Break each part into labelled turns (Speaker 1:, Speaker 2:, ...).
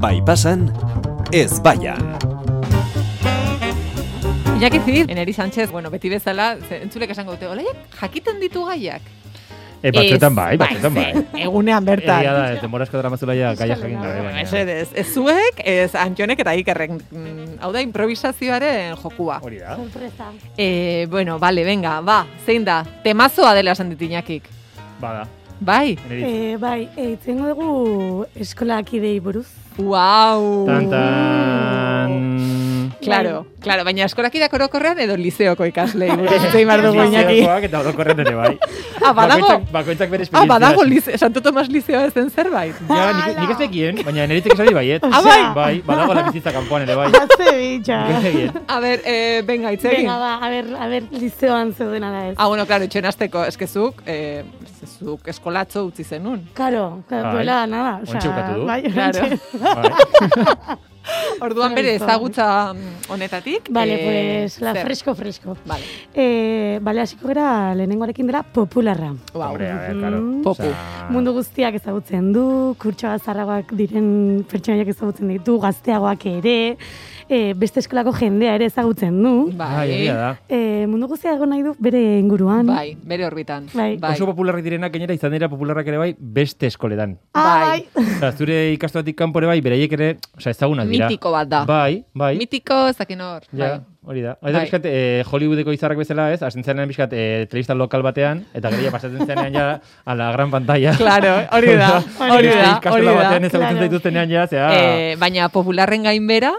Speaker 1: Bai pasan, ez baian.
Speaker 2: Iñaki Zid, Eneri Sánchez, bueno, beti bezala, ze- entzulek esango dute, olaiak jakiten ditu gaiak.
Speaker 3: E, batzuetan bai, batzuetan bai.
Speaker 2: Egunean bertan.
Speaker 3: Egia da, denbora asko daramazula ja gaia jakin gabe.
Speaker 2: Bueno,
Speaker 3: baina-
Speaker 2: Mesedez, ez zuek, ez Antxonek eta Ikerrek. Mm, Hau da, improvisazioaren jokua.
Speaker 3: Hori da.
Speaker 4: Sorpresa.
Speaker 2: E, bueno, bale, venga, ba, zein da, temazoa dela esan dit Iñakik.
Speaker 3: Bada.
Speaker 2: Bai,
Speaker 3: Eneritz.
Speaker 4: E, bai, eitzengo dugu eskolakidei buruz.
Speaker 2: wow.
Speaker 3: Tan, tan.
Speaker 2: Claro, claro, baina eskolakidak orokorrean edo liseoko ikaslei buruz hitz egin behar dugu Iñaki.
Speaker 3: Lizeokoak eta orokorren ere bai.
Speaker 2: Ah, badago,
Speaker 3: Bakoitzak- Bakoitzak bere
Speaker 2: ah,
Speaker 3: esperientzia.
Speaker 2: badago lize, Santo Tomas liseoa ez den zerbait.
Speaker 3: Ja, nik, nik ez dekien, baina eneritzik esari baiet.
Speaker 5: Ah, bai?
Speaker 3: Bai, badago la bizitza kanpoan ere bai.
Speaker 5: Hace
Speaker 4: Ah.
Speaker 5: bitxa.
Speaker 3: Nik ez dekien.
Speaker 2: A ber, eh, venga, hitz egin.
Speaker 4: Bai. Venga, ba, a ber, a ber, liceoan zeudena da ez.
Speaker 2: Ah, bueno, claro, itxen azteko, eskezuk, eh, zuk eskolatzo utzi zenun.
Speaker 4: Karo,
Speaker 3: Bai.
Speaker 4: karo, duela da nada. osea,
Speaker 3: Ontxe bukatu du.
Speaker 5: Bai,
Speaker 2: Claro.
Speaker 5: oraintxe.
Speaker 3: Bai.
Speaker 2: Orduan bere ezagutza mm, honetatik.
Speaker 4: Bale,
Speaker 2: eh,
Speaker 4: pues, la
Speaker 2: zer?
Speaker 4: fresko, fresko.
Speaker 2: Vale,
Speaker 4: E, bale, hasiko gara lehenengoarekin dela popularra.
Speaker 2: wow.
Speaker 3: Hombre, a ver, claro.
Speaker 4: Mhm.
Speaker 2: Mm. Popu.
Speaker 3: Osea,
Speaker 4: Mundu guztiak ezagutzen du, kurtsoa zarragoak diren pertsonaiak ezagutzen ditu, gazteagoak ere, e, beste eskolako jendea ere ezagutzen du.
Speaker 3: Bai,
Speaker 2: Bai,
Speaker 3: egia da.
Speaker 4: E, mundu guztia egon nahi du bere inguruan.
Speaker 2: bai, bere orbitan.
Speaker 4: Bai.
Speaker 2: bai.
Speaker 3: Oso popularrak direnak gainera izan dira popularrak ere bai beste eskoletan.
Speaker 5: Ah,
Speaker 2: Bai.
Speaker 5: bai.
Speaker 3: Osea, zure ikastoratik kanpo ere bai, beraiek ere, osea, ezagunak dira.
Speaker 2: Mitiko bat da.
Speaker 3: Bai, bai.
Speaker 2: Mitiko, ez dakin hor.
Speaker 3: Ja,
Speaker 2: Bai.
Speaker 3: hori da. Hori da
Speaker 2: Bai.
Speaker 3: pixkat, eh, Hollywoodeko izarrak bezala, ez? Hasten zenean pixkat, eh, telebista lokal batean, eta gero ja pasatzen zenean ja a la gran pantalla.
Speaker 2: Claro, hori da, hori
Speaker 3: Beste
Speaker 2: da,
Speaker 3: ikastola
Speaker 2: hori da.
Speaker 3: batean ezagutzen
Speaker 4: Claro.
Speaker 3: zaituztenean ja, zea...
Speaker 2: Eh, baina popularren gainbera,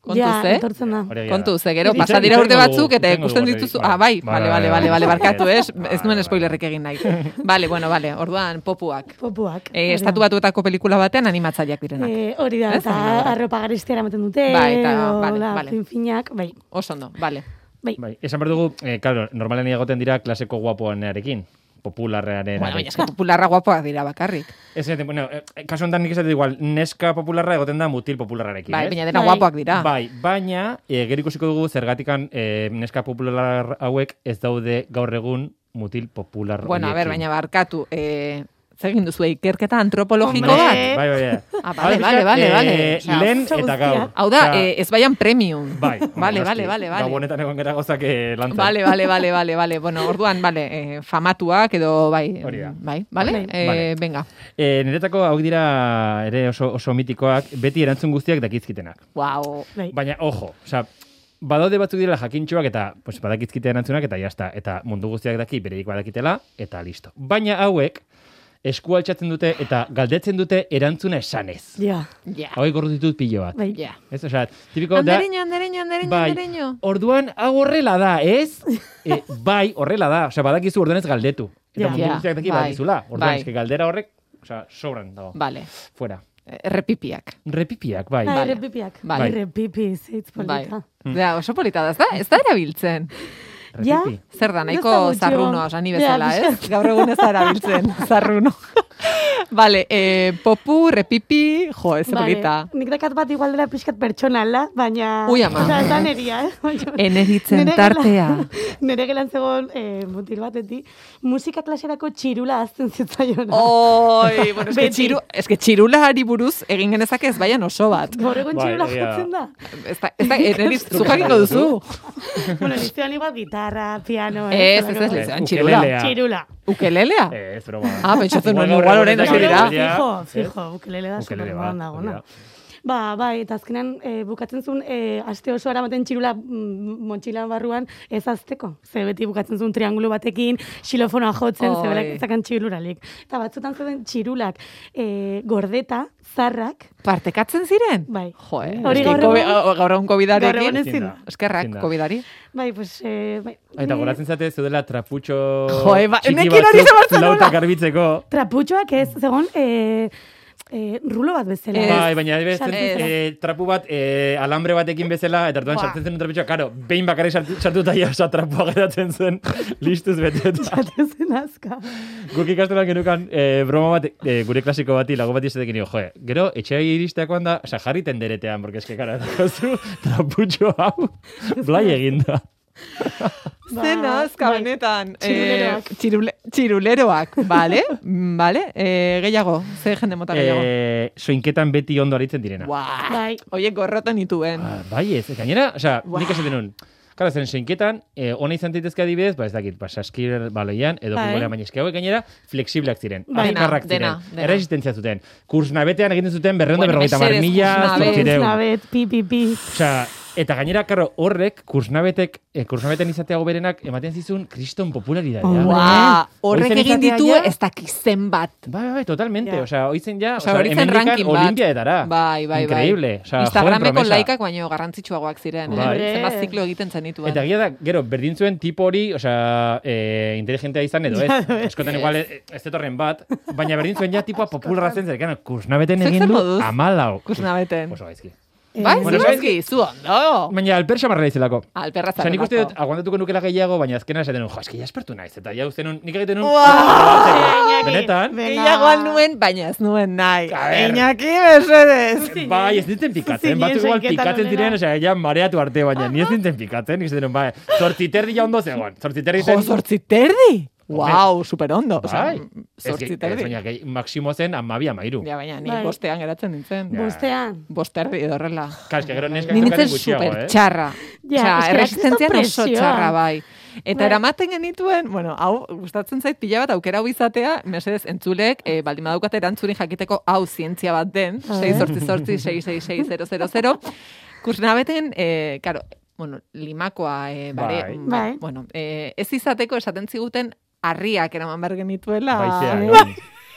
Speaker 2: kontuz,
Speaker 4: ja,
Speaker 2: eh?
Speaker 4: etortzen da.
Speaker 3: hori egia da.
Speaker 2: Kontuz, eh, gero,
Speaker 3: Itxaron-
Speaker 2: pasa dira urte
Speaker 3: itxarongo dugu,
Speaker 2: batzuk, eta
Speaker 3: itxarongo
Speaker 2: ikusten
Speaker 3: dugu,
Speaker 2: dituzu,
Speaker 3: bai.
Speaker 2: ah, bai, bale, bale, bale, bale, barkatu, ez, ez nuen
Speaker 3: Bai,
Speaker 2: spoilerrik egin nahi. Bale, bueno, bale, orduan, popuak.
Speaker 4: Popuak.
Speaker 2: Eh, estatu batuetako pelikula batean animatzaileak direnak.
Speaker 4: Eh, hori da,
Speaker 2: Ez?
Speaker 4: eta arropa garestiara ematen dute,
Speaker 2: Bai, eta
Speaker 4: edo,
Speaker 2: bale,
Speaker 4: hola,
Speaker 2: bale.
Speaker 4: fin-finak, bai.
Speaker 2: Oso ondo, bale.
Speaker 3: Bai, esan behar dugu, eh, claro, normalen egoten dira klaseko guapoanearekin, popularrearen.
Speaker 2: Bueno, baina eske popularra guapoak dira bakarrik.
Speaker 3: Ez, ez, bueno, eh, kasu honetan nik ez dut igual, neska popularra egoten da mutil popularrarekin,
Speaker 2: Bai,
Speaker 3: ez?
Speaker 2: baina dena
Speaker 4: Bai.
Speaker 2: guapoak dira.
Speaker 3: Bai, baina e, gero ikusiko dugu zergatikan e, neska popular hauek ez daude gaur egun mutil popular
Speaker 2: Bueno, a
Speaker 3: horiekin.
Speaker 2: ber, baina barkatu, eh, zegin duzu ikerketa antropologiko
Speaker 3: Bai,
Speaker 2: bat?
Speaker 5: Hombre.
Speaker 3: Bai, bai, bai.
Speaker 2: Ah, bale, bale, bale, bale.
Speaker 3: Eh,
Speaker 2: Osea,
Speaker 3: lehen
Speaker 4: oso
Speaker 3: eta
Speaker 4: guztia.
Speaker 3: gaur.
Speaker 2: Hau da,
Speaker 3: Osea,
Speaker 2: eh, ez baian premium.
Speaker 3: Ba. bai.
Speaker 2: Bale,
Speaker 3: noski.
Speaker 2: bale, bale, bale.
Speaker 3: Gabonetan egon gara gozak eh, lantzen.
Speaker 2: Bale, bale, bale, bale, bale. Bueno, orduan, bale, eh, famatuak edo, bai,
Speaker 3: Hori da.
Speaker 2: bai, bale? Eh,
Speaker 3: Bale.
Speaker 2: Venga,
Speaker 3: Eh, niretako hauek dira ere oso, oso mitikoak, beti erantzun guztiak dakizkitenak.
Speaker 2: wow.
Speaker 4: Bai.
Speaker 3: Baina, ojo, osea, badaude batzuk dira jakintxoak eta pues, badakizkite erantzunak eta jazta. Eta mundu guztiak daki bereik badakitela eta listo. Baina hauek esku altxatzen dute eta galdetzen dute erantzuna esanez.
Speaker 4: Ja,
Speaker 2: Ja,
Speaker 3: Hauek gordu ditut pilo bat.
Speaker 4: bai.
Speaker 2: ja.
Speaker 3: Ez, osea, tipiko da...
Speaker 2: Andereño, andereño, andereño,
Speaker 3: Bai,
Speaker 2: andereño.
Speaker 3: orduan hau horrela da, ez? E, bai, horrela da, osea, badakizu orduan ez galdetu. Eta
Speaker 4: Ja.
Speaker 3: mundu
Speaker 2: Ja,
Speaker 3: guztiak daki
Speaker 2: bai,
Speaker 3: badakizula. Orduan,
Speaker 2: bai.
Speaker 3: eske galdera horrek, osea, sobran dago.
Speaker 2: Bale,
Speaker 3: Fuera.
Speaker 2: Eh, errepipiak.
Speaker 3: Repipiak, bai.
Speaker 4: Bai,
Speaker 2: Bale.
Speaker 4: errepipiak.
Speaker 2: Bai.
Speaker 4: Bai, errepipi, zeitz
Speaker 2: Bai.
Speaker 4: polita. Hmm.
Speaker 2: Da, oso polita da, ez da, ez da erabiltzen.
Speaker 4: Ja.
Speaker 3: Repipi.
Speaker 2: Zer da, nahiko
Speaker 4: Ez da gutxi,
Speaker 2: zarruno,
Speaker 4: ba.
Speaker 2: osa, ni
Speaker 4: Ja,
Speaker 2: bezala, ¿eh?
Speaker 4: pixka.
Speaker 2: ez? Gaur egun ez da erabiltzen, zarruno. vale, eh, popu, repipi, jo, ez
Speaker 4: Bale,
Speaker 2: polita.
Speaker 4: Nik dakat bat igual dela pixkat pertsonala, baina...
Speaker 2: Ui, ama.
Speaker 4: Osa, esan eria, eh? Baina-
Speaker 2: Eneritzen
Speaker 4: Nere gelan-
Speaker 2: tartea.
Speaker 4: Nere gelan zegoen eh, mutil bateti, musika klaserako txirula azten zitzaiona.
Speaker 2: Oh. Oi, bueno, eske,
Speaker 4: Beti.
Speaker 2: txiru, eske txirulari buruz egin genezake ez baian oso bat.
Speaker 4: Gaur egun
Speaker 3: Bai,
Speaker 4: txirula
Speaker 3: egia da.
Speaker 4: jotzen da.
Speaker 2: Ez da, ez da, eneriz, zu jakingo duzu.
Speaker 4: bueno, lizean igual gitarra, piano... eh,
Speaker 2: Ez, ez, ez,
Speaker 4: zelako-
Speaker 2: ez, txirula.
Speaker 3: Ukelelea.
Speaker 4: Txirula.
Speaker 2: Ukelelea?
Speaker 3: Eh, ez broma.
Speaker 2: Ah, pentsatzen nuen,
Speaker 3: gaur
Speaker 2: igual
Speaker 3: egun
Speaker 2: orain
Speaker 3: ez
Speaker 2: hasi
Speaker 3: dakit
Speaker 2: dira.
Speaker 3: ja.
Speaker 4: Fijo, fijo, ukelele da
Speaker 3: Ukelele
Speaker 4: super
Speaker 3: Eh, bat,
Speaker 4: modan dago,
Speaker 3: hori da.
Speaker 4: no? Ba, bai, eta azkenan eh, bukatzen zuen eh, aste oso aramaten txirula mm, montxilan barruan ez azteko. Ze beti bukatzen zuen triangulu batekin, xilofonoa jotzen,
Speaker 2: Oi.
Speaker 4: ze berak zakan txirulalik. Eta batzutan zeuden txirulak eh, gordeta, zarrak,
Speaker 2: Partekatzen ziren?
Speaker 4: Bai.
Speaker 2: Jo, eh?
Speaker 4: Hori
Speaker 2: eske
Speaker 4: gaur
Speaker 2: Covid-
Speaker 4: egun-
Speaker 2: o- gaur egun
Speaker 4: gaur egun
Speaker 2: COVID-arekin.
Speaker 4: ezin da.
Speaker 2: Eskerrak,
Speaker 3: Ezin da.
Speaker 2: COVID-ari.
Speaker 4: Bai, pues... Eh, bai,
Speaker 3: Eta
Speaker 4: ni-
Speaker 3: goratzen zate zeudela traputxo
Speaker 2: Jo, ba,
Speaker 3: txiki
Speaker 2: nekin hori
Speaker 3: batzuk
Speaker 2: zebartzen nola.
Speaker 3: lautak garbitzeko.
Speaker 4: Traputxoak ez, zegoen... Eh, eh, rulo bat bezala.
Speaker 2: Ez.
Speaker 3: Bai, baina ez,
Speaker 4: Sartzen
Speaker 2: Ez.
Speaker 3: eh, trapu bat eh, alambre batekin bezala, eta hartuan sartzen zen traputxoa, karo, behin bakarrik sartu, sartuta ja, osa trapua geratzen zen, listuz bete eta.
Speaker 4: Zaten zen azka.
Speaker 3: Guk ikastolan genukan, eh, broma bat, eh, gure klasiko bati, lagun bati zetekin, jo, joe, gero, etxea iristeakoan da, osa, jarri tenderetean, porque eske, kara, zu, traputxo hau, blai eginda.
Speaker 4: Ba,
Speaker 6: Zena, azka
Speaker 4: bai.
Speaker 6: honetan.
Speaker 4: Txiruleroak.
Speaker 6: Eh, txirule, txiruleroak, bale? bale? Eh, gehiago, ze jende mota gehiago.
Speaker 3: Eh, soinketan beti ondo aritzen direna.
Speaker 6: Buah,
Speaker 4: Bai.
Speaker 6: Oie gorroto nituen.
Speaker 3: Ah, bai ez, gainera, osea, nik esaten nun. Claro, zeren seinketan, eh, ona izan daitezke adibidez, ba ez dakit, ba saskir baloian edo
Speaker 4: Bai.
Speaker 3: futbolean baina eske hauek gainera flexibleak ziren,
Speaker 4: Bai.
Speaker 3: azkarrak
Speaker 2: Dena,
Speaker 3: ziren,
Speaker 2: dena, dena.
Speaker 3: erresistentzia zuten. Kursnabetean egiten zuten berrehun
Speaker 2: Bueno,
Speaker 3: bueno, berrogeita hamar
Speaker 2: mesedez,
Speaker 3: mila,
Speaker 2: kursnabe.
Speaker 3: zortziehun.
Speaker 4: Nabet, pi, pi, pi.
Speaker 3: Osea, eta gainera, karo, horrek, kursnabetek, eh, kursnabetan izateago berenak, ematen zizun kriston popularidadea.
Speaker 4: Hombre.
Speaker 2: Ba,
Speaker 3: Oizen
Speaker 2: horrek egin
Speaker 3: izatea
Speaker 2: ditu
Speaker 3: ja?
Speaker 2: ez dakiz zenbat.
Speaker 3: Bai, bai, bai, totalmente.
Speaker 4: Ja.
Speaker 3: Osea, oitzen ja,
Speaker 2: Osea,
Speaker 3: osea,
Speaker 2: hori zen
Speaker 3: hemendikan
Speaker 2: ranking bat.
Speaker 3: Olimpiadetara.
Speaker 2: Bai, bai, bai.
Speaker 3: Increíble. Osea, joven
Speaker 2: Instagrameko
Speaker 3: promesa.
Speaker 2: laikak baino garrantzitsuagoak ziren.
Speaker 3: Bai.
Speaker 2: Eh? Zenbat ziklo egiten zenituen.
Speaker 3: Eta egia da, gero, berdin zuen tipo hori, osea, e, inteligentea izan edo ez. Askotan igual ez, ez etorren bat, baina berdin zuen ja tipoa popularra zen zer, gano, kursnabeten
Speaker 2: Zuk
Speaker 3: egin
Speaker 2: zer
Speaker 3: du
Speaker 2: moduz?
Speaker 3: amalau.
Speaker 2: Kursnabeten.
Speaker 3: Oso gaizki.
Speaker 2: Bai,
Speaker 3: Bueno,
Speaker 2: bueno,
Speaker 3: bai.
Speaker 2: zu ondo.
Speaker 3: Baina alper xamarra izelako.
Speaker 4: Ah,
Speaker 2: Alperra
Speaker 3: Osa, nik uste dut,
Speaker 2: zarrelako.
Speaker 3: aguantatuko nukela gehiago, baina azkena esaten nun, jo, eski jaspertu naiz, eta ja uste nun, nik egiten nun, benetan,
Speaker 4: Venga.
Speaker 2: Gehiagoan nuen, baina ez nuen nahi.
Speaker 3: A ber.
Speaker 2: Iñaki, mesedez.
Speaker 3: Bai, ez nintzen pikatzen,
Speaker 4: Zinen Ah.
Speaker 3: batzuk igual
Speaker 4: zainketan
Speaker 3: pikatzen
Speaker 4: onena.
Speaker 3: diren, osea, ja mareatu arte, baina ni ez nintzen pikatzen, nik zen, bai, zortziterdi ja ondo zegoen, zortziterdi
Speaker 2: Jo,
Speaker 3: zen,
Speaker 2: sortzi terdi.
Speaker 3: Hombre.
Speaker 2: Wow, super ondo.
Speaker 3: bai,
Speaker 2: mm, sortzi
Speaker 3: Ez,
Speaker 2: terdi.
Speaker 3: baina, gehi- maksimo zen, amabi amairu.
Speaker 2: Ja, baina ni
Speaker 4: Bai.
Speaker 2: bostean geratzen nintzen.
Speaker 3: Ja.
Speaker 4: Bostean.
Speaker 2: Bosterri edo horrela.
Speaker 3: Kaske, gero neskak
Speaker 2: Ni nintzen
Speaker 3: tokatzen gutxiago,
Speaker 2: super
Speaker 3: eh?
Speaker 2: txarra.
Speaker 4: Ja,
Speaker 2: Osea,
Speaker 4: eske,
Speaker 2: erresistentzian
Speaker 4: kriston
Speaker 2: oso
Speaker 4: presioa.
Speaker 2: txarra bai. Eta
Speaker 4: Bai.
Speaker 2: eramaten genituen, bueno, hau, gustatzen zait pila bat aukera hau izatea, mesedez entzulek, e, baldin badaukat erantzurin jakiteko hau zientzia bat den, 6 sortzi sortzi, 666 kursnabeten, e, karo, bueno, limakoa, e, bare,
Speaker 3: Bai.
Speaker 2: mm,
Speaker 4: Bai.
Speaker 2: bueno, e, ez izateko esaten ziguten, harriak eraman behar genituela.
Speaker 3: Baizean,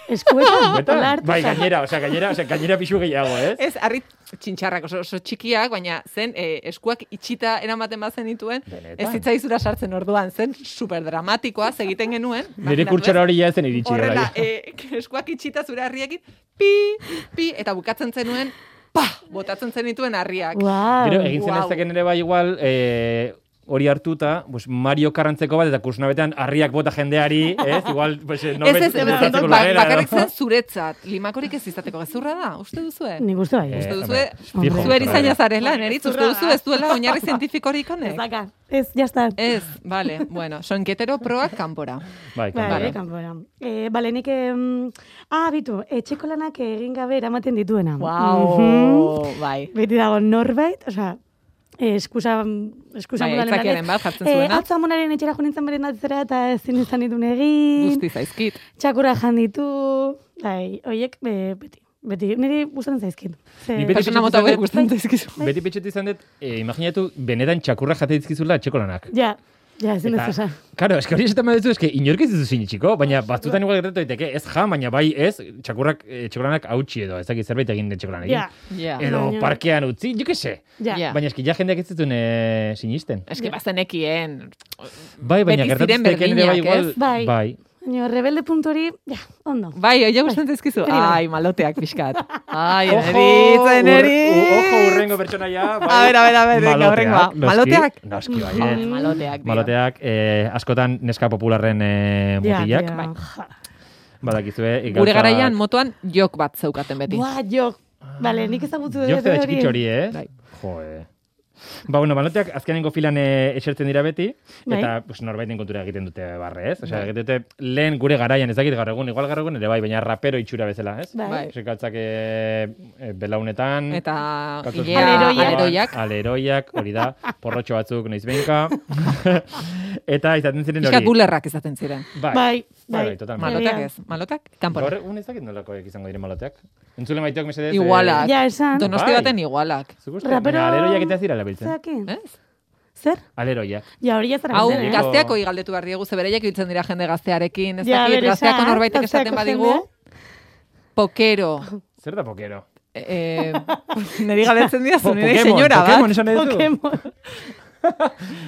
Speaker 4: Eskuetan.
Speaker 3: Betan?
Speaker 4: polar,
Speaker 3: eh. Bai,
Speaker 4: tuzan.
Speaker 3: gainera, osea, gainera, osea, gainera pixu gehiago, eh. ez?
Speaker 2: Ez, harri txintxarrak oso, oso txikiak, baina zen eh, eskuak itxita eramaten bazen dituen,
Speaker 3: Benetan.
Speaker 2: ez zitzaizura sartzen orduan, zen superdramatikoa egiten genuen.
Speaker 3: Nire
Speaker 2: Imaginatu,
Speaker 3: kurtsara hori ja ez zen
Speaker 2: ez?
Speaker 3: iritsi. bai.
Speaker 2: Horrela,
Speaker 3: garai.
Speaker 2: eh, eskuak itxita zure harriekin, pi, pi, eta bukatzen zenuen, pa, botatzen zenituen harriak.
Speaker 4: Wow.
Speaker 3: Gero, egin zen
Speaker 2: Oh, Wow.
Speaker 3: ezaken ere bai igual, eh, hori hartuta, pues, Mario Karrantzeko bat, eta kursunabetan harriak bota jendeari, ez? Igual, pues, eh,
Speaker 2: Ez
Speaker 3: norbait
Speaker 2: ez, ez, ez,
Speaker 3: gertatzeko
Speaker 2: ba-
Speaker 3: lanera,
Speaker 2: bakarrik
Speaker 3: edo.
Speaker 2: zen zuretzat, limakorik ez izateko, gezurra da, uste duzue?
Speaker 4: Nik uste bai.
Speaker 2: Uste
Speaker 3: Eh,
Speaker 2: duzue,
Speaker 3: hombre, fijo,
Speaker 2: zu erizaina
Speaker 3: horrela.
Speaker 2: zarela, neritz, uste
Speaker 4: gezurra
Speaker 2: duzu
Speaker 4: da.
Speaker 2: ez duela oinarri zientifikorik honek?
Speaker 4: Ez daka. Ez, jazta.
Speaker 2: Eh. Ez, vale, bueno, sonketero proak kanpora.
Speaker 3: Bai,
Speaker 4: Bai,
Speaker 3: kanpora.
Speaker 4: bai, kanpora. Eh, bale, nik... em, ah, bitu, etxeko lanak egin gabe eramaten dituena. Mhm.
Speaker 2: bai.
Speaker 4: Beti dago norbait, osea, eh, eskusa, eskusa
Speaker 2: Bai,
Speaker 4: modalen
Speaker 2: aitzakiaren
Speaker 4: lanek.
Speaker 2: bat jartzen
Speaker 4: Eh,
Speaker 2: zuena.
Speaker 4: atzo amonaren etxera jo nintzen beren atzera eta ezin izan ditun egin.
Speaker 2: Guzti zaizkit.
Speaker 4: Txakura jan ditu. Bai, hoiek eh, beti. Beti, niri gustatzen zaizkit. Ze-
Speaker 3: Ni beti-
Speaker 2: Persona mota hauek gustatzen zaizkizu.
Speaker 3: Bai. Beti petxet izan dut, eh, imaginatu, benetan txakurra jate dizkizula etxeko lanak.
Speaker 4: Ja, ja, ezin ez
Speaker 3: Eta-
Speaker 4: osa.
Speaker 3: Claro, eske hori esaten baduzu, eske inork ez dizu sinitsiko, baina batzutan igual gertatu daiteke, ez ja, baina bai ez, txakurrak etxekolanak hautsi edo, ez dakit zerbait egin
Speaker 2: Bai.
Speaker 3: etxekolanekin.
Speaker 4: Ja,
Speaker 2: Ja.
Speaker 3: Edo
Speaker 4: Baina-
Speaker 3: parkean utzi, jo que se.
Speaker 4: ja.
Speaker 2: Ja.
Speaker 3: Baina eski Eh, ja jendeak ez zituen eh, sinisten.
Speaker 2: Eski bazenekien.
Speaker 3: Bai, baina
Speaker 2: Beti
Speaker 3: gertatu
Speaker 2: ziren
Speaker 3: zitekeen ere bai
Speaker 2: berdinak,
Speaker 3: igual.
Speaker 2: ez?
Speaker 4: Bai.
Speaker 3: bai.
Speaker 4: Baina rebelde puntu hori, ja, ondo.
Speaker 2: Bai, oia gustatzen zaizkizu.
Speaker 4: Hori bai.
Speaker 2: Ai, maloteak pixkat. Ai,
Speaker 3: Ojo,
Speaker 2: eneritz, eneritz.
Speaker 3: ur- u- ojo urrengo pertsonaia. Bai.
Speaker 2: A ber, a ber, a ber, venga, horrengoa. Maloteak?
Speaker 3: Maloteak? noski, Noski,
Speaker 4: Mm.
Speaker 3: bai.
Speaker 2: Ai,
Speaker 3: eh.
Speaker 2: Maloteak. dira.
Speaker 3: Maloteak, eh, askotan neska popularren eh,
Speaker 4: Ja,
Speaker 3: mutilak.
Speaker 4: ja.
Speaker 2: bai.
Speaker 3: Badakizue. eh,
Speaker 2: Gure
Speaker 3: gauzak-
Speaker 2: garaian motoan jok bat zeukaten beti.
Speaker 4: Buah, jo. Bale,
Speaker 3: Ah.
Speaker 4: nik ezagutzu
Speaker 3: Jo, zera txikitxo hori,
Speaker 4: hori.
Speaker 3: eh?
Speaker 2: Bai.
Speaker 3: Jo, eh. Ba, bueno, maloteak azkenengo filan eh, esertzen dira beti, eta
Speaker 4: Bai.
Speaker 3: pues, norbaiten kontura egiten dute barre, ez?
Speaker 2: Bai.
Speaker 3: Osea, egiten dute lehen gure garaian, ez dakit gaur egun, igual gaur egun ere bai, baina rapero itxura bezala, ez?
Speaker 4: Bai.
Speaker 2: Bai.
Speaker 3: Ose, kaltzak eh, eh, belaunetan,
Speaker 2: Eta
Speaker 3: kaltzak-
Speaker 2: ilea
Speaker 4: Aleroiak.
Speaker 2: aleroiak.
Speaker 3: aleroiak, hori da, porrotxo batzuk noiz behinka, eta izaten ziren
Speaker 2: Pixkat
Speaker 3: hori.
Speaker 2: bulerrak izaten ziren.
Speaker 3: Bai,
Speaker 4: Bai,
Speaker 3: bai,
Speaker 4: bai.
Speaker 3: totalmente.
Speaker 2: Malotak
Speaker 4: Egia.
Speaker 2: ez. Malotak
Speaker 3: Gaur
Speaker 2: kanpora.
Speaker 3: egun ez dakit nolakoek izango diren maloteak. Entzule maiteok mesedez... eh,
Speaker 2: Igualak.
Speaker 4: Ja, esan.
Speaker 2: Donosti
Speaker 3: Bai.
Speaker 2: baten igualak.
Speaker 3: zuk uste? Baina Aleroiak eta ez dira labiltzen.
Speaker 4: Zaki.
Speaker 2: Ez?
Speaker 4: Zer?
Speaker 3: Aleroiak.
Speaker 4: Ja, hori jazara.
Speaker 2: Hau,
Speaker 3: Zer, eh?
Speaker 2: gazteako galdetu behar diegu, ze bereiak ibiltzen dira jende gaztearekin, ez
Speaker 4: Ja,
Speaker 2: dakit,
Speaker 4: bere
Speaker 2: gazteako
Speaker 4: esan,
Speaker 2: norbaitek esaten
Speaker 4: gazteako
Speaker 2: badigu, pokero.
Speaker 3: Zer da pokero?
Speaker 2: Eh, neri galdetzen dira,
Speaker 3: Po-
Speaker 2: zu nire
Speaker 3: Pokemon,
Speaker 2: senyora,
Speaker 3: Pokemon
Speaker 2: bat.
Speaker 3: esan nahi duzu?
Speaker 4: Pokemon.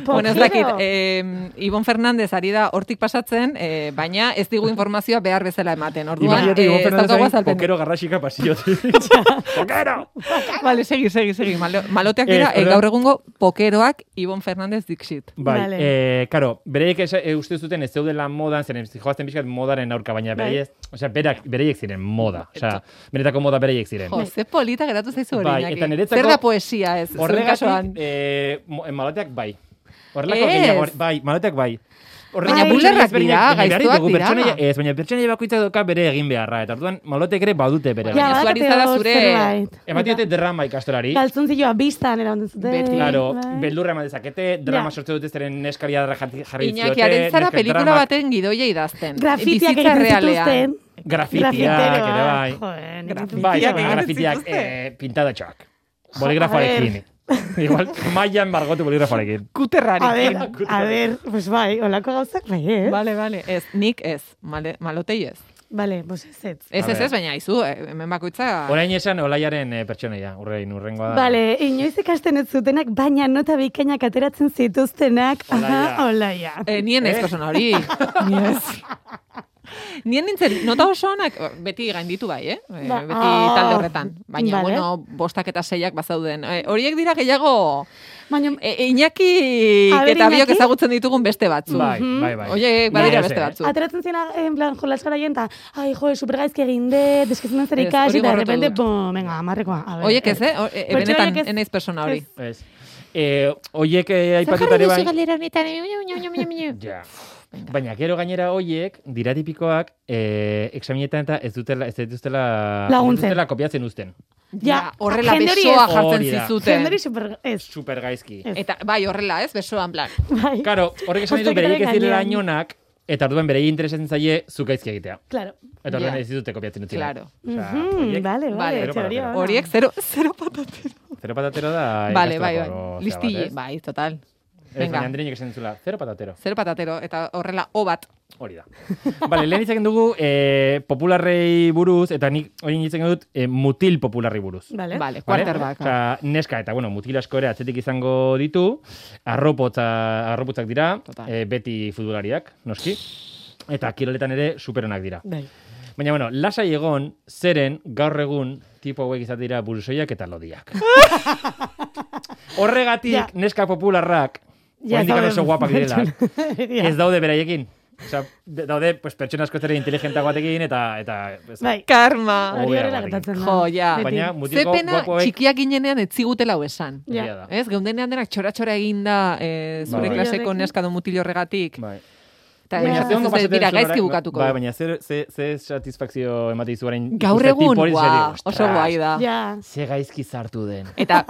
Speaker 2: Bueno, ez
Speaker 4: Pokero.
Speaker 2: dakit, eh, Ibon Fernandez ari da hortik pasatzen, eh, baina ez digu informazioa behar bezala ematen. Orduan,
Speaker 3: Imaginatu
Speaker 2: eh,
Speaker 3: Ibon
Speaker 2: ez
Speaker 3: Fernandez
Speaker 2: daukagu
Speaker 3: hain
Speaker 2: azalpen.
Speaker 3: pokero garrasika pasiotik. Pokero!
Speaker 2: Vale, segi, segi, segi. Malo, maloteak dira,
Speaker 3: Ez,
Speaker 2: eh,
Speaker 3: orduan-
Speaker 2: gaur egungo pokeroak Ibon Fernandez dixit.
Speaker 3: Bai,
Speaker 4: Vale.
Speaker 3: eh, karo, bereiek esa- eh, uste zuten ez zeudela modan, zeren joazten pixkat modaren aurka, baina
Speaker 4: Bai.
Speaker 3: bereiek, osea, berak, bereiek ziren moda. Osea, benetako moda bereiek ziren.
Speaker 2: Jo, ze polita geratu zaizu hori,
Speaker 3: Eh. Bai,
Speaker 2: Iñaki.
Speaker 3: eta niretzako-
Speaker 2: Zer da poesia ez? zuen
Speaker 3: Horregatik,
Speaker 2: kasuan?
Speaker 3: eh, mo- eh, maloteak bai. Horrelako
Speaker 2: Ez.
Speaker 3: gehiago, hor- bai, maloteak bai.
Speaker 2: Baina bulerrak
Speaker 3: ezberdinak
Speaker 2: dira,
Speaker 3: egin behar
Speaker 2: gaiztoak
Speaker 3: ditugu,
Speaker 2: dira.
Speaker 3: pertsonaia- ez, baina pertsonaia bakoitzak dauka bere egin beharra, eta orduan malotek ere badute bere.
Speaker 2: Baina
Speaker 4: Ja,
Speaker 2: zu ari
Speaker 4: badakate
Speaker 2: zara
Speaker 4: hor
Speaker 2: zure-
Speaker 4: zerbait.
Speaker 3: Ematen dute drama ikastolari.
Speaker 4: Galtzun zioa biztan eraman zuten.
Speaker 2: Beti.
Speaker 3: Claro,
Speaker 4: bai.
Speaker 3: beldurra eman dezakete, drama
Speaker 4: Ja.
Speaker 3: sortu dute zeren neskaria jarri diziote.
Speaker 2: Iñakiaren zara
Speaker 3: neska
Speaker 2: pelikula
Speaker 3: dramak,
Speaker 2: baten gidoia idazten.
Speaker 4: Grafitiak
Speaker 2: Bizitza
Speaker 4: egiten
Speaker 2: errealean.
Speaker 4: zituzten.
Speaker 3: Grafitiak, ere bai. Bai,
Speaker 2: Grafitiak
Speaker 3: bai,
Speaker 2: egiten
Speaker 3: grafitiak
Speaker 2: zituzten.
Speaker 3: eh, pintadatxoak. Boligrafoarekin. Igual, maian margotu boligrafoarekin.
Speaker 4: A ver,
Speaker 2: Kuterrarekin.
Speaker 4: a ver, pues bai, olako gauzak bai, eh?
Speaker 2: Bale, bale. Ez, nik ez. Male, malotei ez.
Speaker 4: Bale, pues ez ez.
Speaker 2: Ez,
Speaker 3: A
Speaker 2: ez,
Speaker 3: ber.
Speaker 2: ez, baina izu, eh, hemen bakoitza...
Speaker 3: Orain esan olaiaren eh, pertsonaia, urrein, urrengoa da.
Speaker 4: Bale, inoiz ikasten ez zutenak, baina nota bikainak ateratzen zituztenak. Aha, olaia.
Speaker 2: Eh, nien ez
Speaker 3: Eh?
Speaker 2: persona hori. Ni ez. Nien nintzen, nota oso onak, beti gainditu bai, eh? Eh,
Speaker 4: Ba-
Speaker 2: beti
Speaker 4: Ah.
Speaker 2: talde horretan. Baina,
Speaker 4: Vale.
Speaker 2: bueno, bostak eta seiak bazauden. Eh, horiek dira gehiago
Speaker 4: Baina,
Speaker 2: e, Iñaki
Speaker 4: A ber,
Speaker 2: eta biok
Speaker 4: Iñaki?
Speaker 2: ezagutzen ditugun beste batzu.
Speaker 3: Bai, bai, bai.
Speaker 2: Oie,
Speaker 3: Baina
Speaker 2: badira
Speaker 3: ez,
Speaker 2: beste
Speaker 3: eh.
Speaker 2: batzu.
Speaker 4: ateratzen zena, en plan, jolas garaien, eta, ai, jo, supergaizki egin dut, deskizun zer
Speaker 2: Ez,
Speaker 4: ikasi,
Speaker 2: hori
Speaker 4: eta de
Speaker 2: borrotu
Speaker 4: repente,
Speaker 2: dut.
Speaker 4: pum, venga, amarrekoa. a ber,
Speaker 2: Oiek ez, eh? O- e-
Speaker 4: Pertsona
Speaker 2: benetan,
Speaker 4: horiek ez-
Speaker 2: enaiz persona hori.
Speaker 4: ez.
Speaker 3: Ez. Eh, oiek eh, aipatutare bai.
Speaker 2: galera honetan, miu, miu, miu, miu, miu.
Speaker 3: Ja. Baina gero gainera hoiek dira tipikoak eh, examinetan eta ez dutela ez dituztela
Speaker 4: Laguntzen.
Speaker 3: ez dutela kopiatzen uzten.
Speaker 2: Ja, horrela
Speaker 4: jende hori
Speaker 2: besoa
Speaker 4: ez.
Speaker 2: jartzen
Speaker 3: Hori da.
Speaker 2: zizuten.
Speaker 4: Jenderi super, ez.
Speaker 3: Super gaizki.
Speaker 4: Ez.
Speaker 2: Eta bai, horrela, ez? Besoan plan.
Speaker 4: Bai,
Speaker 3: Claro, horrek esan ditu
Speaker 4: Azterketaren
Speaker 3: bereiek ez direla
Speaker 4: gainean.
Speaker 3: inonak eta orduan berei interesatzen zaie zu gaizki egitea.
Speaker 4: claro.
Speaker 3: Eta orduan
Speaker 2: Ja.
Speaker 3: ez dituzte kopiatzen utzi.
Speaker 2: Claro.
Speaker 3: Osea,
Speaker 4: Mm,
Speaker 3: horiek-
Speaker 4: vale,
Speaker 2: Vale,
Speaker 4: vale, teoria. ona.
Speaker 2: Horiek zero, zero patatero.
Speaker 3: Zero patatero da.
Speaker 2: Vale, bai,
Speaker 3: ikastolako
Speaker 2: bai.
Speaker 3: gauza bat,
Speaker 2: Listille,
Speaker 3: ez?
Speaker 2: bai, total.
Speaker 3: Ez,
Speaker 2: Venga.
Speaker 3: baina Andreinek esan duzula, zero patatero.
Speaker 2: Zero patatero, eta horrela, o bat.
Speaker 3: Hori da. Bale, lehen itzen dugu eh, popularrei buruz, eta nik hori itzen dut eh, mutil popularrei buruz.
Speaker 2: Vale,
Speaker 4: Vale.
Speaker 3: Vale?
Speaker 2: quarterback.
Speaker 3: Osea, neska eta, bueno, mutil asko ere atzetik izango ditu, arropotza, arropotzak dira,
Speaker 2: Total.
Speaker 3: eh, beti futbolariak, noski, eta kiroletan ere superonak dira.
Speaker 4: Bai.
Speaker 3: Baina, bueno, lasai egon, zeren, gaur egun, tipo hauek izate dira burusoiak eta lodiak. Horregatik,
Speaker 4: Ja.
Speaker 3: neska popularrak, ja,
Speaker 4: daude-
Speaker 3: oso guapak direla,
Speaker 4: Ja.
Speaker 3: ez daude beraiekin. Osea, de- daude, pues, pertsona askoz ere inteligenta batekin, eta... eta ez,
Speaker 4: Bai,
Speaker 2: Karma!
Speaker 4: hori
Speaker 3: Hobea
Speaker 4: horrela
Speaker 3: batekin.
Speaker 4: gertatzen da.
Speaker 2: Jo, ja.
Speaker 4: Beti.
Speaker 3: Baina,
Speaker 2: Ze
Speaker 3: mutiko
Speaker 2: pena,
Speaker 3: guapoek...
Speaker 2: txikiak ginenean ez zigutela hau esan.
Speaker 4: Ja.
Speaker 3: egia da.
Speaker 2: Ez, geundenean denak txora-txora eginda eh, zure
Speaker 3: Bai.
Speaker 2: klaseko
Speaker 4: Horregatik.
Speaker 2: neska do mutil horregatik.
Speaker 3: Bai.
Speaker 2: Eta
Speaker 4: Baina
Speaker 2: ez,
Speaker 3: ze
Speaker 2: ez,
Speaker 3: ondo
Speaker 2: ez,
Speaker 3: pasatzen
Speaker 2: bira,
Speaker 3: duzu
Speaker 2: gaizki
Speaker 3: orain-
Speaker 2: bukatuko.
Speaker 3: Bai,
Speaker 2: du.
Speaker 3: Ba. baina zer, ze, ze satisfakzio emate izu orain.
Speaker 2: Gaur
Speaker 3: ikuste
Speaker 2: egun,
Speaker 3: tipo hori,
Speaker 2: guau,
Speaker 3: zer digo,
Speaker 2: oso
Speaker 3: "Ostras,
Speaker 2: guai da.
Speaker 4: Ja.
Speaker 3: Ze gaizki zartu den.
Speaker 2: Eta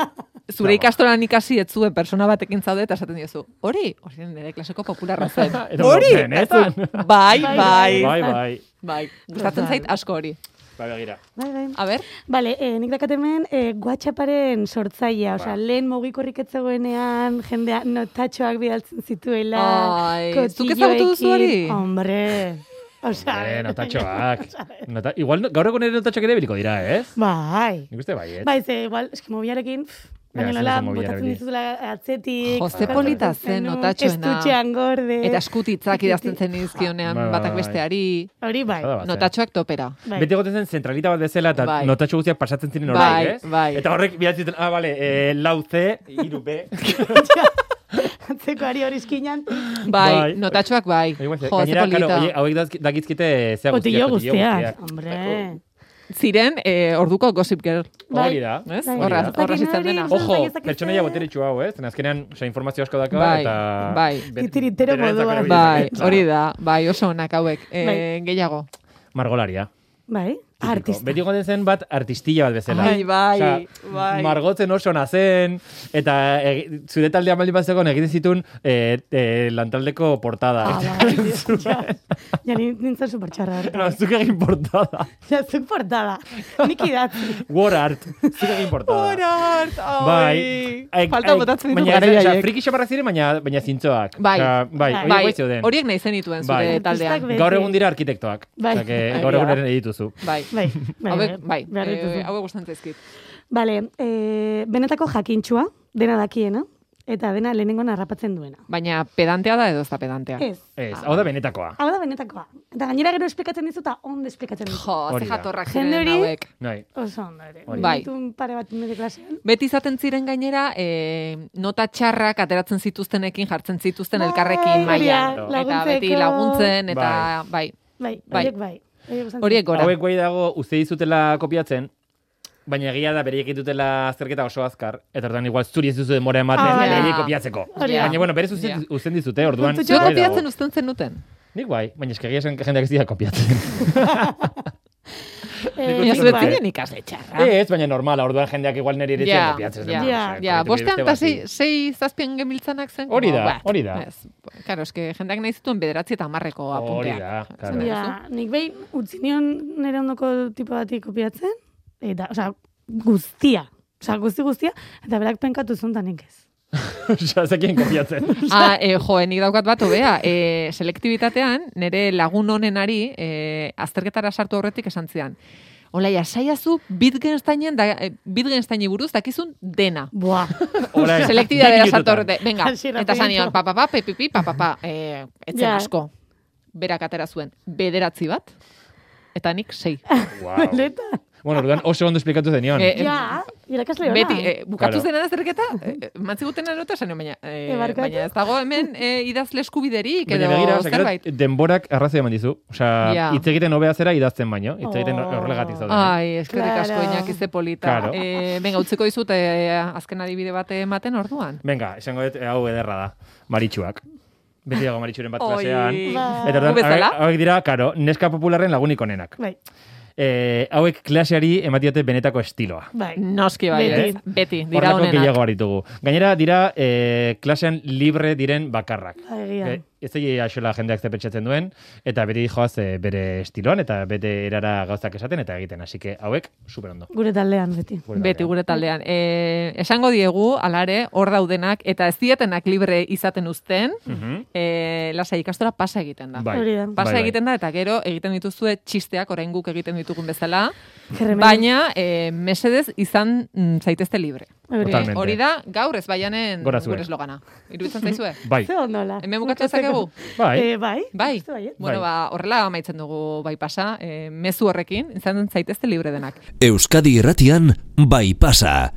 Speaker 2: zure
Speaker 3: Bravo.
Speaker 2: ikastolan ikasi ez zuen persona batekin zaude eta esaten diozu, hori, hori nire klaseko popularra zen.
Speaker 3: Eta
Speaker 2: hori,
Speaker 3: benetan.
Speaker 2: Eta zu, bai,
Speaker 4: Bai,
Speaker 2: bai,
Speaker 3: Bai, bai.
Speaker 2: bai. Gustatzen zait asko hori.
Speaker 3: Bai, begira.
Speaker 4: Bai, bai.
Speaker 2: A ber,
Speaker 4: Bale, eh, nik dakat hemen eh, WhatsApparen sortzailea, osea,
Speaker 3: Ba.
Speaker 4: lehen mugikorrik ez zegoenean, jendea notatxoak bidaltzen zituela.
Speaker 2: Ai, zuk
Speaker 4: kotilloekin.
Speaker 2: ezagutu duzu hori?
Speaker 4: Hombre, osea.
Speaker 3: Eh, notatxoak. Nota, igual gaur egun ere notatxoak ere biliko dira, ez?
Speaker 4: Bai.
Speaker 3: Nik uste bai, ez?
Speaker 4: Bai, ze, igual, eski mobiarekin, pff, baina
Speaker 3: Ja,
Speaker 4: nola,
Speaker 3: zen mobilarekin.
Speaker 4: botatzen dituzula atzetik.
Speaker 2: Jose
Speaker 4: kokatzen
Speaker 2: polita zen
Speaker 4: zenuen,
Speaker 2: notatxoena.
Speaker 4: Estutxean gorde.
Speaker 2: eta eskutitzak idazten zen izkionean
Speaker 3: Bai, bai,
Speaker 2: batak
Speaker 3: bai.
Speaker 2: besteari,
Speaker 4: Hori bai.
Speaker 3: Bada bat, eh?
Speaker 2: notatxoak topera.
Speaker 4: bai.
Speaker 3: Beti egoten zen zentralita bat bezala eta
Speaker 2: Bai.
Speaker 3: notatxo guztiak pasatzen ziren hori,
Speaker 2: Bai,
Speaker 3: ez?
Speaker 2: bai.
Speaker 3: Eta horrek bilatzen zuten, ah, bale, eh, lau C,
Speaker 4: Bai.
Speaker 3: iru B.
Speaker 4: Atzeko ari hori eskinan.
Speaker 2: Bai,
Speaker 3: Bai.
Speaker 2: notatxoak bai.
Speaker 3: Igual,
Speaker 2: Jo, ze
Speaker 3: Gainera, claro,
Speaker 2: polita.
Speaker 3: oie, hauek dazki- dakizkite zea
Speaker 4: Botillo
Speaker 3: guztiak.
Speaker 4: guztiak. Hombre.
Speaker 2: Ziren, eh, orduko gossip girl.
Speaker 3: Hori da.
Speaker 2: Ez?
Speaker 4: Bai.
Speaker 2: Horra,
Speaker 3: Hori
Speaker 4: da.
Speaker 2: horra zitzen dena.
Speaker 4: Hori-
Speaker 3: Ojo,
Speaker 4: Zertan
Speaker 3: pertsonaia
Speaker 4: ezakizte.
Speaker 3: boteretsu hau, ez? Azkenean, oza, informazio asko daka
Speaker 2: Bai,
Speaker 3: eta...
Speaker 2: bai.
Speaker 3: Bet-
Speaker 4: Titiritero
Speaker 3: berarentzako
Speaker 4: moduan.
Speaker 3: erabili
Speaker 2: Bai,
Speaker 3: dezake.
Speaker 2: hori da, bai, oso onak hauek. Eh,
Speaker 4: Bai.
Speaker 2: Gehiago.
Speaker 3: Margolaria.
Speaker 4: Bai, artista.
Speaker 3: Beti goten zen bat artistilla bat bezala.
Speaker 2: Ai, bai,
Speaker 3: Osea,
Speaker 2: bai.
Speaker 3: Margotzen oso nazen, eta e, zure taldean baldin bat zegoen egiten zitun e, e, lantaldeko portada.
Speaker 4: Ah, bai, ja, ja, ni- nintzen supertxarra.
Speaker 3: no, zuk egin portada.
Speaker 4: Ja, zuk portada. Nik idatzi.
Speaker 3: War art. Zuk egin portada.
Speaker 2: Horart,
Speaker 3: Bai. Ai,
Speaker 2: Falta
Speaker 3: ai,
Speaker 2: botatzen ditu
Speaker 3: baina,
Speaker 2: garai
Speaker 3: osea,
Speaker 2: haiek.
Speaker 3: Friki xamarrak ziren, baina, baina zintzoak.
Speaker 2: Bai.
Speaker 3: Osea, bai,
Speaker 4: Bai.
Speaker 3: horiek bai zeuden.
Speaker 2: horiek nahi zenituen zure
Speaker 3: Bai.
Speaker 2: taldean.
Speaker 4: Artistak be-
Speaker 3: Gaur egun dira arkitektoak.
Speaker 4: Bai.
Speaker 3: Osea, que
Speaker 2: Ai,
Speaker 3: gaur
Speaker 2: ja.
Speaker 3: egun ere dituzu.
Speaker 2: Bai.
Speaker 4: Bai, bai,
Speaker 2: Hauek, bai,
Speaker 4: behar dituzu.
Speaker 2: eh, hauek gustatzen zaizkit.
Speaker 4: Bale, eh, benetako jakintxua, dena dakiena, eta dena lehenengo narrapatzen duena.
Speaker 2: Baina pedantea da edo ez da pedantea.
Speaker 4: Ez,
Speaker 3: Ez, hau
Speaker 2: Ah.
Speaker 3: da benetakoa.
Speaker 4: hau da benetakoa. Eta gainera gero esplikatzen dizu eta ondo esplikatzen dizu.
Speaker 2: Jo,
Speaker 3: Hori
Speaker 2: ze
Speaker 3: da.
Speaker 2: jatorrak
Speaker 4: Jende
Speaker 2: ziren
Speaker 4: hori-
Speaker 2: hauek.
Speaker 3: Bai.
Speaker 4: Oso ondo ere.
Speaker 3: Hori.
Speaker 2: Bai.
Speaker 4: Nituen pare bat nire klasean.
Speaker 2: Beti izaten ziren gainera, eh, nota txarrak ateratzen zituztenekin jartzen zituzten
Speaker 4: Bai,
Speaker 2: elkarrekin
Speaker 4: hori
Speaker 2: mailan.
Speaker 4: da,
Speaker 2: Eta beti
Speaker 4: laguntzeko.
Speaker 2: laguntzen, eta bai.
Speaker 4: Bai,
Speaker 2: Bai.
Speaker 4: horiek bai. Horiek gustatzen
Speaker 2: Horiek gora.
Speaker 3: Hauek guai dago, uste dizutela kopiatzen, Baina egia da bereiek dutela azterketa oso azkar, eta orduan igual zuri ez duzu demora ematen
Speaker 4: Ah,
Speaker 3: ah,
Speaker 4: bai.
Speaker 3: kopiatzeko.
Speaker 2: Ah,
Speaker 4: Hori da.
Speaker 3: Baina bueno, berez uzten,
Speaker 2: Ja.
Speaker 3: uzten dizute, orduan.
Speaker 2: Zuk
Speaker 3: bai dago.
Speaker 2: kopiatzen uzten zenuten.
Speaker 3: Nik bai, baina eskegia esan jendeak ez dira kopiatzen.
Speaker 4: Eh,
Speaker 2: Baina
Speaker 3: nik
Speaker 2: zuet
Speaker 3: bai. Eh,
Speaker 2: zinen ikasle txarra.
Speaker 3: Ez, baina normala, orduan jendeak igual neri ere
Speaker 2: Ja,
Speaker 3: yeah. kopiatzen.
Speaker 2: ja,
Speaker 3: ez dut,
Speaker 4: ja,
Speaker 3: osea,
Speaker 2: Ja,
Speaker 3: kopiatu
Speaker 2: bostean
Speaker 3: beste
Speaker 2: eta
Speaker 3: bati.
Speaker 2: sei, sei zazpian genbiltzanak zen.
Speaker 3: Hori
Speaker 2: como,
Speaker 3: da,
Speaker 2: bat.
Speaker 3: hori da.
Speaker 2: Ez, Karo, eske jendeak nahi zituen bederatzi eta hamarreko
Speaker 3: Hori
Speaker 2: apunteak.
Speaker 3: da,
Speaker 2: Esan
Speaker 3: claro.
Speaker 2: duzu?
Speaker 4: Ja, nik behin utzi nion nire ondoko tipo bati kopiatzen, eta, osea, guztia, osea, guzti guztia, eta berak penkatu zuntan nik ez.
Speaker 3: Osea, zekien kopiatzen.
Speaker 2: Ah, eh, jo, nik daukat bat hobea. Eh, selektibitatean, nire lagun honenari, eh, azterketara sartu aurretik esan zidan. Olaia, saiazu Wittgensteinen, da, eh, Wittgensteini buruz dakizun dena.
Speaker 4: Buah,
Speaker 3: Orain,
Speaker 2: Selektibitatea
Speaker 3: dakitutan.
Speaker 2: sartu aurretik. Venga,
Speaker 4: Hasieratik.
Speaker 2: eta zanion, pa, pa, pa, pe, pi, pi, pa, pa, pa, eh, etzen
Speaker 4: Ja.
Speaker 2: asko. Berak atera zuen, bederatzi bat, eta nik sei.
Speaker 3: Wow.
Speaker 4: leta.
Speaker 3: bueno, orduan oso ondo esplikatu zenion.
Speaker 2: Eh,
Speaker 4: Ja, irakasle hona.
Speaker 2: Beti, eh, bukatu
Speaker 3: Claro.
Speaker 2: zena da zerketa, eh, mantzi guten anota esan, baina, eh,
Speaker 4: Eh, barkatu?
Speaker 2: baina ez dago hemen eh, idazle eskubiderik,
Speaker 3: Baina
Speaker 2: edo
Speaker 3: begira, osea, gero
Speaker 2: zerbait.
Speaker 3: denborak arrazoi eman dizu. Osea,
Speaker 2: Ja.
Speaker 3: hitz egiten hobea zera idazten baino, hitz egiten
Speaker 4: Oh.
Speaker 3: horregatik zaude.
Speaker 2: Ai, eskerrik asko
Speaker 4: Claro.
Speaker 2: Iñaki ze polita.
Speaker 3: Claro.
Speaker 2: Eh, venga, utziko dizut eh, azken adibide bat ematen orduan.
Speaker 3: Venga, esango dut eh, hau ederra da. Maritxuak. Beti dago maritxuren bat
Speaker 2: Oi.
Speaker 3: klasean.
Speaker 4: Ba.
Speaker 3: Eta
Speaker 2: Gu
Speaker 3: orduan,
Speaker 2: Bai. bezala?
Speaker 3: hauek- hauek dira, karo, neska popularren lagunik onenak.
Speaker 4: Bai,
Speaker 3: Eh, hauek klaseari ematiote benetako estiloa.
Speaker 4: bai.
Speaker 2: Noski bai,
Speaker 4: Beti.
Speaker 2: ez? beti, dira
Speaker 3: Hortako
Speaker 2: honenak.
Speaker 3: gehiago aritugu. Gainera dira eh, klasean libre diren bakarrak.
Speaker 4: Ba, egia.
Speaker 2: Bai.
Speaker 3: Eh, Ez egia axola jendeak ze pentsatzen duen, eta bere joaz eh, bere estiloan, eta bete erara gauzak esaten eta egiten. Así que hauek, super ondo.
Speaker 4: Gure taldean beti.
Speaker 2: Beti gure taldean. Eh, esango diegu, alare, hor daudenak, eta ez dietenak libre izaten uzten,
Speaker 3: Mhm.
Speaker 2: eh, lasa ikastora pasa egiten da.
Speaker 3: Bai.
Speaker 4: Hori da.
Speaker 2: Pasa
Speaker 3: Bai, bai.
Speaker 2: egiten da, eta gero egiten dituzue txisteak, orain guk egiten ditugun bezala,
Speaker 4: Kerremen-
Speaker 2: baina eh, mesedez izan mm, zaitezte libre.
Speaker 4: Hori.
Speaker 3: Totalmente.
Speaker 2: Eh, hori da, gaur ez baianen
Speaker 3: Gora zuen.
Speaker 2: gure eslogana. Iruditzen zaizue?
Speaker 3: Bai.
Speaker 4: Ze ondola.
Speaker 2: Hemen bukatu dezakegu?
Speaker 3: Bai.
Speaker 4: Eh, bai.
Speaker 2: Bai,
Speaker 4: Uste baiet.
Speaker 2: bueno,
Speaker 3: Bai.
Speaker 2: ba, horrela amaitzen dugu bai pasa, eh, mezu horrekin, izan zaitezte libre denak.
Speaker 1: Euskadi irratian, bai pasa.